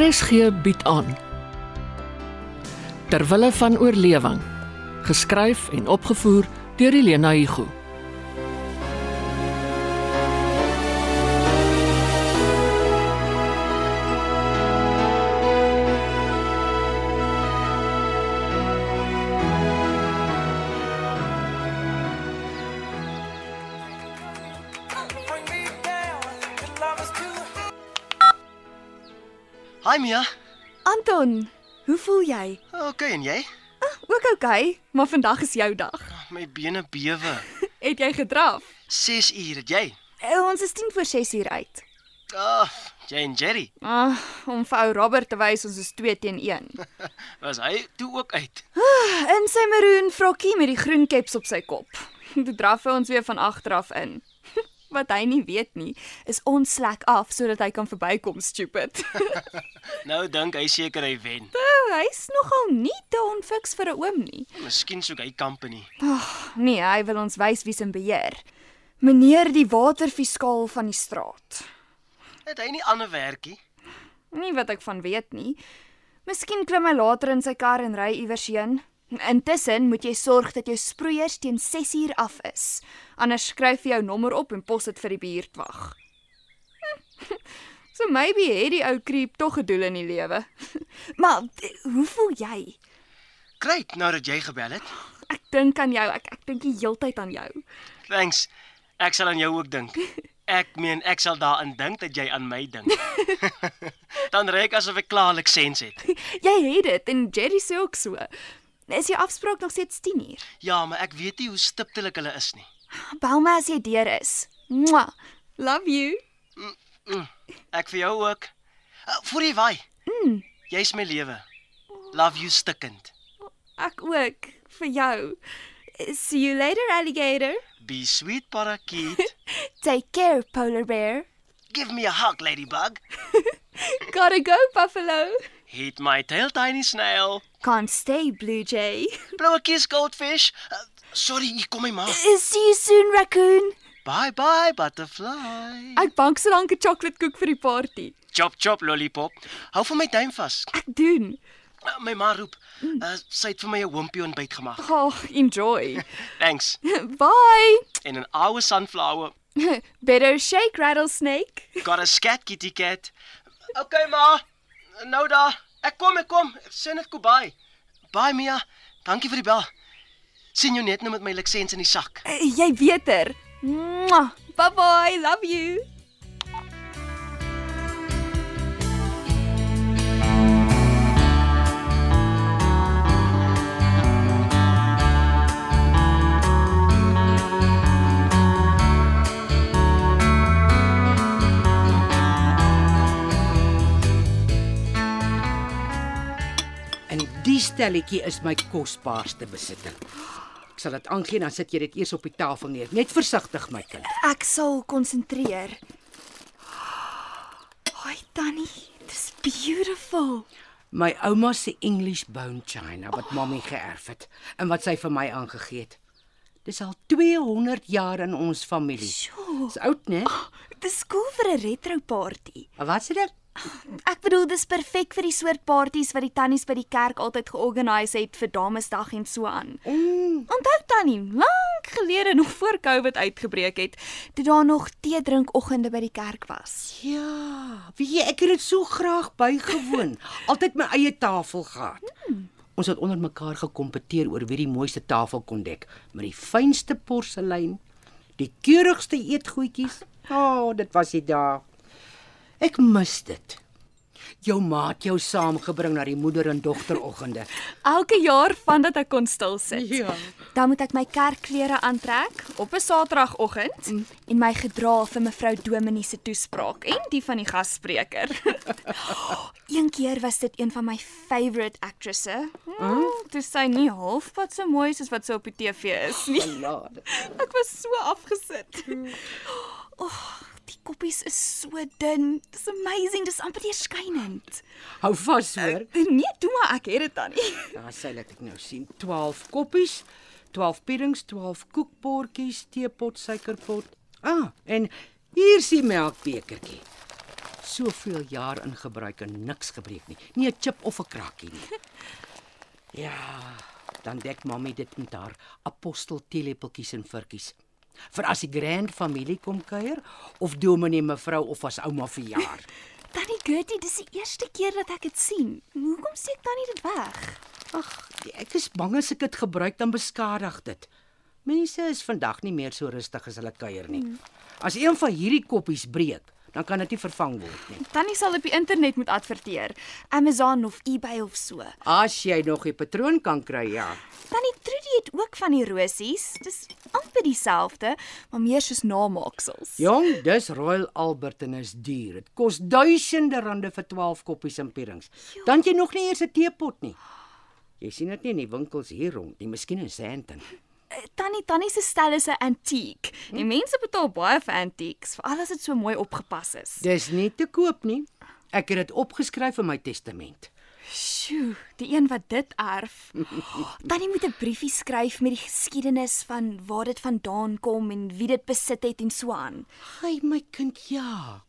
RSG bied aan Terwille van oorlewing geskryf en opgevoer deur Elena Igu Bring me down, your love is too Hi Mia. Anton, hoe voel jy? Okay, en jy? Ook oukei, okay, maar vandag is jou dag. My bene bewe. Het jy gedraf? 6 uur het jy. Eh, Ons is 10 voor 6 uur uit. Ah, jy en Jerry. Ah, om vir ou Robert te wys ons is 2 teen 1. Was hy toe ook uit? In sy maroon frokkie met die groen keps op sy kop. Toe draf hy ons weer van agter af in. Wat hy nie weet nie, is ons slek af sodat hy kan verbykom, stupid. Nou dink hy seker hy wen. Oh, Hy's nogal nie te onfiks vir 'n oom nie. Miskien soek hy company. Nee, hy wil ons wys wie's in beheer. Meneer die waterfiskaal van die straat. Het hy nie ander werkie? Nie wat ek van weet nie. Miskien klim hy later in sy kar en ry iewers heen. Intussen moet jy sorg dat jou sproeiers teen 6uur af is. Anders skryf jy jou nommer op en pos dit vir die buurtwag. so maybe het die ou creep tog 'n doel in die lewe. maar d- hoe voel jy? Great, nou dat jy gebel het. Ek dink aan jou. Ek ek dink die heeltyd aan jou. Thanks. Ek sal aan jou ook dink. Ek meen ek sal daaraan dink dat jy aan my dink. Dan reik asof ek klaarlik sens het. Jy het dit en Jerry sê ook so. Is die afspraak nog steeds 10uur? Ja, maar ek weet nie hoe stiptelik hulle is nie. Bel my as jy deur is. Mwah. Love you. Ek vir jou ook. Uh, Voor jy waai. Mm. Jy's my lewe. Love you stikkend. Ek ook vir jou. See you later alligator. Be sweet parakeet. Take care polar bear. Give me a hug ladybug. Gotta go buffalo. Hit my tail tiny snail. Can't stay blue jay. Blow a kiss goldfish. Uh, sorry, hier kom my ma. See you soon raccoon. Bye bye butterfly. Ek bank so lank 'n chocoladekoek vir die party. Chop chop lollipop. Hou vir my duim vas. Ek doen. Uh, my ma roep. Uh, sy het vir my 'n hoompie ontbyt gemaak. Oh, enjoy. Thanks. Bye. En 'n ouer sunflower. Better shake rattlesnake. Got a scat kitty cat. Okay ma. Nou daar. Ek kom, ek kom. Sien dit kobai. Bye Mia. Dankie vir die bel. Sien jou net nou met my lisensie in die sak. Eh, Jy beter. Mwah. Bye bye. Love you. En die stelletjie is my kosbaarste besitting. Ek sal dit aangee en dan sit jy dit eers op die tafel neer. Net versigtig my kind. Ek sal konsentreer. Hoi Tannie, dis beautiful. My ouma se English bone china wat mommy geërf het en wat sy vir my aangegee het. Dis al 200 jaar in ons familie. Sjoe. Dis oud, né? Dis cool vir 'n retro party. Maar wat sê dit? Ek bedoel dis perfek vir die soort partytjies wat die tannies by die kerk altyd georganiseer het vir Damesdag en so aan. Mm, Onthou tannie, lank gelede nog voor COVID uitgebreek het, toe daar nog teedrinkoggende by die kerk was. ja, weet jy, ek het dit so graag bygewoon. Altyd my eie tafel gehad. Ons het onder mekaar gekompeteer oor wie die mooiste tafel kon dek met die fynste porselein, die keurigste eetgoedjies. O, oh, dit was die dag. Ek mis dit. Jou maat jou saamgebring na die moeder en dogteroggende. Elke jaar vandat ek kon stil sit. Ja. Dan moet ek my kerkklere aantrek op 'n Saterdagoggend mm. en my gedra vir mevrou Dominee se toespraak en die van die gasspreker. een keer was dit een van my favourite actresse. Mm, toe sy nie halfpad so mooi soos wat sy op die TV is nie. Genade. Ek was so afgesit. Oh, die koppies is so dun. Dis amazing, dis amper deurskynend. Hou vas hoor. Nee, toe maar ek het dit dan nie. Ja, sy laat ek nou sien 12 koppies, 12 piddings, 12 koekbordjies, teepot, suikerpot. Ah, en hier is die melkbekertjie. Soveel jaar in gebruik en niks gebreek nie. Nie 'n chip of 'n krakkie nie. Ja, dan dek mami dit met haar apostel teelepeltjies en vurkies. Vir as die grand familie kom kuier of dominee mevrou of as ouma verjaar. Tannie Gertie, dis die eerste keer dat ek dit sien. Hoekom steek tannie dit weg? Ag, ek is bang as ek dit gebruik dan beskadig dit. Mense is vandag nie meer so rustig as hulle kuier nie. As een van hierdie koppies breek, dan kan dit nie vervang word nie. Tannie sal op die internet moet adverteer, Amazon of eBay of so. As jy nog 'n patroon kan kry, ja. Tannie Trudy het ook van die rosies. Dis amper dieselfde, maar meer soos namaaksels. Jong, dis Royal Albert en is duur. Dit kos duisende rande vir 12 koppies en pierings. Dan het jy nog nie eers 'n teepot nie. Jy sien dit nie in die winkels hier rond nie, miskien in Sandton. Eh, Tannie Tannie se stel is 'n antiek. En mense betaal baie vir antiques, veral as dit so mooi opgepas is. Dis nie te koop nie. Ek het dit opgeskryf in my testament. Sjoe, die een wat dit erf. Tannie moet 'n briefie skryf met die geskiedenis van waar dit vandaan kom en wie dit besit het en so aan. Ai my kind, ja.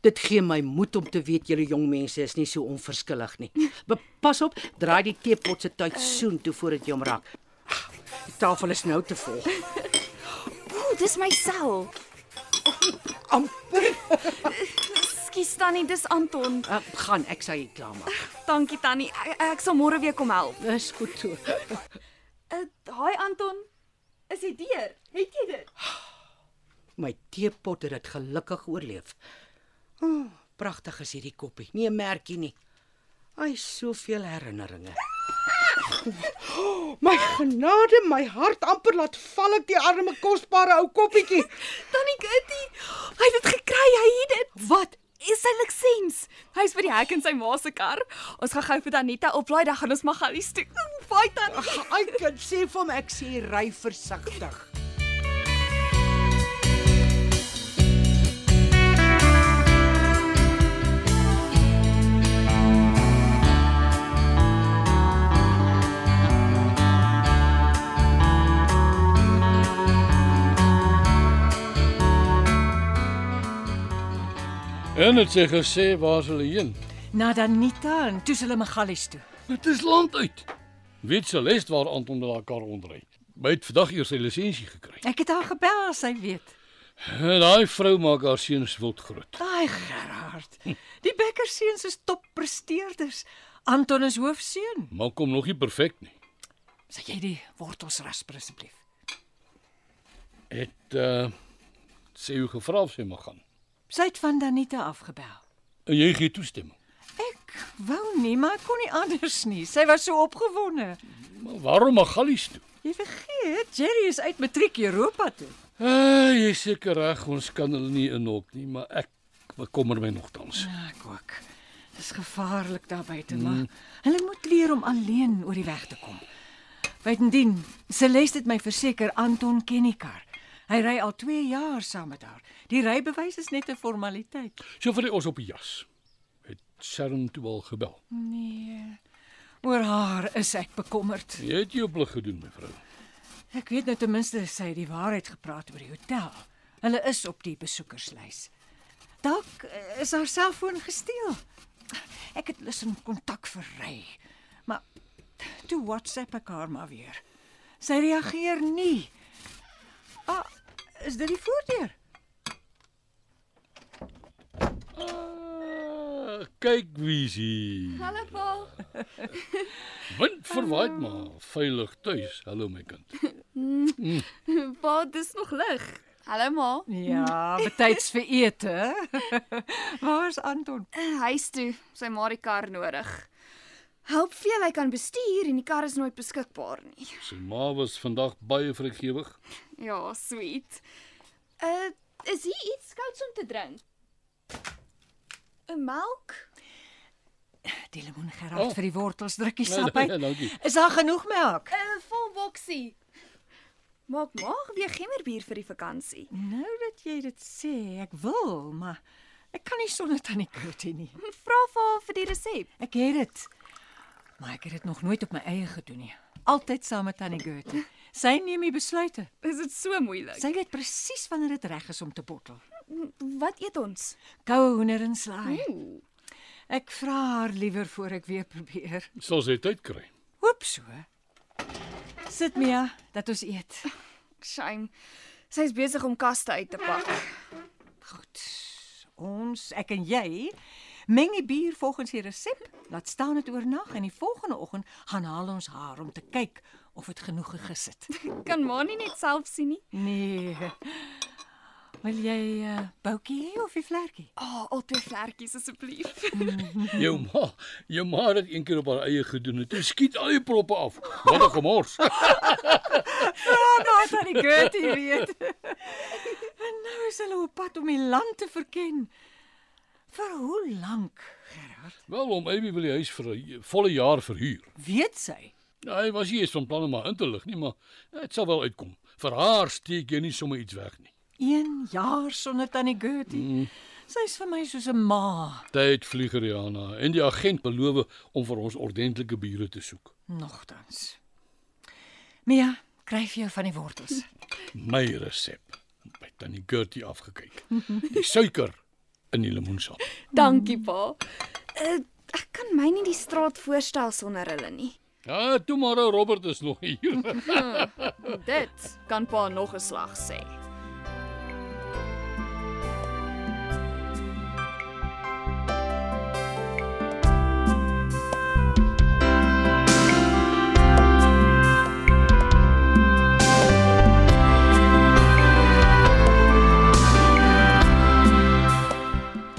Dit gee my moed om te weet julle jong mense is nie so onverskillig nie. Bepas op, draai die teepot se tyd soen toe voordat jy hom raak. Ag, Die tafel is nou te vol. Ooh, Oh, dis my sel. Amper. Skus Tannie, dis Anton. Uh, gaan, ek sal dit klaarmaak. Dankie Tannie. Ek, ek sal môre weer kom help. Dis goed so. Uh, hi Anton. Is jy deur? Het jy dit? My teepot het dit gelukkig oorleef. Oh, pragtig is hierdie koppie. Nie 'n merkie nie. Ai, soveel herinneringe. Oh, my genade, my hart amper laat val ek die arme kosbare ou koppietjie. Tannie Kitty, hy het dit gekry, hy het dit. Wat? Is sy liksens? Hy's by die hek in sy ma se kar. Ons gaan gou vir Danita oplaai, dan gaan ons Magalies toe. Baie tannie. Ai, kind, sê vir hom ek sê ry versigtig. En het sy gesê waar sy heen? Na Danita en toe is hulle Magalies toe. Dit is land uit. Weet sy les waar Anton met haar kar rondry. By het vandag eers sy lisensie gekry. Ek het haar gebel, sy weet. En daai vrou maak haar seuns wild groot. Ai Gerard. Die Becker seuns is toppresteerders. Anton is hoofseun. Maar kom nog nie perfek nie. Sal jy die wortels rasper asseblief? Het uh sy jou gevra of sy mag gaan. Sy het van Danita afgebel. En jy gee toestemming. Ek wou nie, maar ek kon nie anders nie. Sy was so opgewonde. Maar Nou, waarom Magalies toe? Jy vergeet, Jerry is uit matriek Europa toe. Ah, jy is seker reg, ons kan hulle nie inhok nie, maar ek bekommer my nogtans. Ja, Ah, ek ook. Mm. Dis gevaarlik daar buite, maar hulle moet leer om alleen oor die weg te kom. Buitendien, Celeste het my verseker Anton ken die kar. Hy ry al 2 jaar saam met haar. Die rybewys is net 'n formaliteit. So vir die ons op die jas. Het Sharon toe al gebel. Nee. Oor haar is ek bekommerd. Jy het jou plig gedoen, mevrou. Ek weet nou ten minste sy het die waarheid gepraat oor die hotel. Hulle is op die besoekerslys. Dalk eh, is haar selfoon gesteel. Ek het lus om kontak verry. Maar toe WhatsApp ek haar maar weer. Sy reageer nie. Ah, is dit die voordeur? Ah, kyk wie is hier. Hallo pa. Wind verwaai maar veilig tuis. Hallo my kind. Pa, dis nog lig. Hallo ma. Ja, betyds vir ete. Waar's Anton? Uh, huis toe. Sy maar die kar nodig. Help veel hy kan bestuur en die kar is nooit beskikbaar nie. Sy ma was vandag baie vergewig. Ja, sweet. Uh, is hier iets skouts om te drink? 'n Melk? Die lemoen Oh. geraak vir die wortels drukkie Nee, sap nee, uit. dankie. Is daar genoeg melk? 'n Vol boksie. Maak maag weer gemmerbier vir die vakansie. Nou dat jy dit sê, ek wil, maar ek kan nie sonder tannie Gertie nie. Vra vir haar vir die resep. Ek het dit. Maar ek het dit nog nooit op my eie gedoen nie. Altyd saam met tannie Gertie. Sy neem die besluite. Is dit so moeilik? Sy weet presies wanneer dit reg is om te bottel. Wat eet ons? Koue hoender en slaai. Ek vra haar liewer voor ek weer probeer. Sal sy tyd kry. Hoop so. Sit Mia, dat ons eet. Shame. Sy's besig om kaste uit te pak. Goed. Ons, ek en jy, meng die bier volgens die resep. Laat staan dit oornag en die volgende oggend gaan haal ons haar om te kyk of dit genoeg gegis het. Kan ma nie net self sien nie? Nee. Wil jy 'n uh, boutjie hê of 'n vlekkie? Ah, oh, albei vlekkies asseblief. Jou ma, jou ma het dit een keer op haar eie gedoen en toe skiet al die proppe af. Wat 'n gemors. Ja, nou het hy Gertie weet. en nou is hulle op pad om die land te verken. Vir hoe lank, Gerard? Wel om Abby wil die huis vir 'n volle jaar verhuur. Weet sy? Nou, hy was nie eens van plan om haar in te lig nie, maar dit sal wel uitkom. Vir haar steek jy nie sommer iets weg nie. 1 jaar sonder tannie Gertie. Mm. Sy's vir my soos 'n ma. Tyd vlieg Rihanna en die agent beloof om vir ons ordentlike bure te soek. Nogtans. Mia, kry vir jou van die wortels. My resep by Tannie Gertie afgekyk. Die suiker in die lemoensap. Dankie, pa. Uh, Mm. ek kan my nie die straat voorstel sonder hulle nie. Ja, toe maar ou Robert is nog hier. Dit kan pa nog 'n slag sê.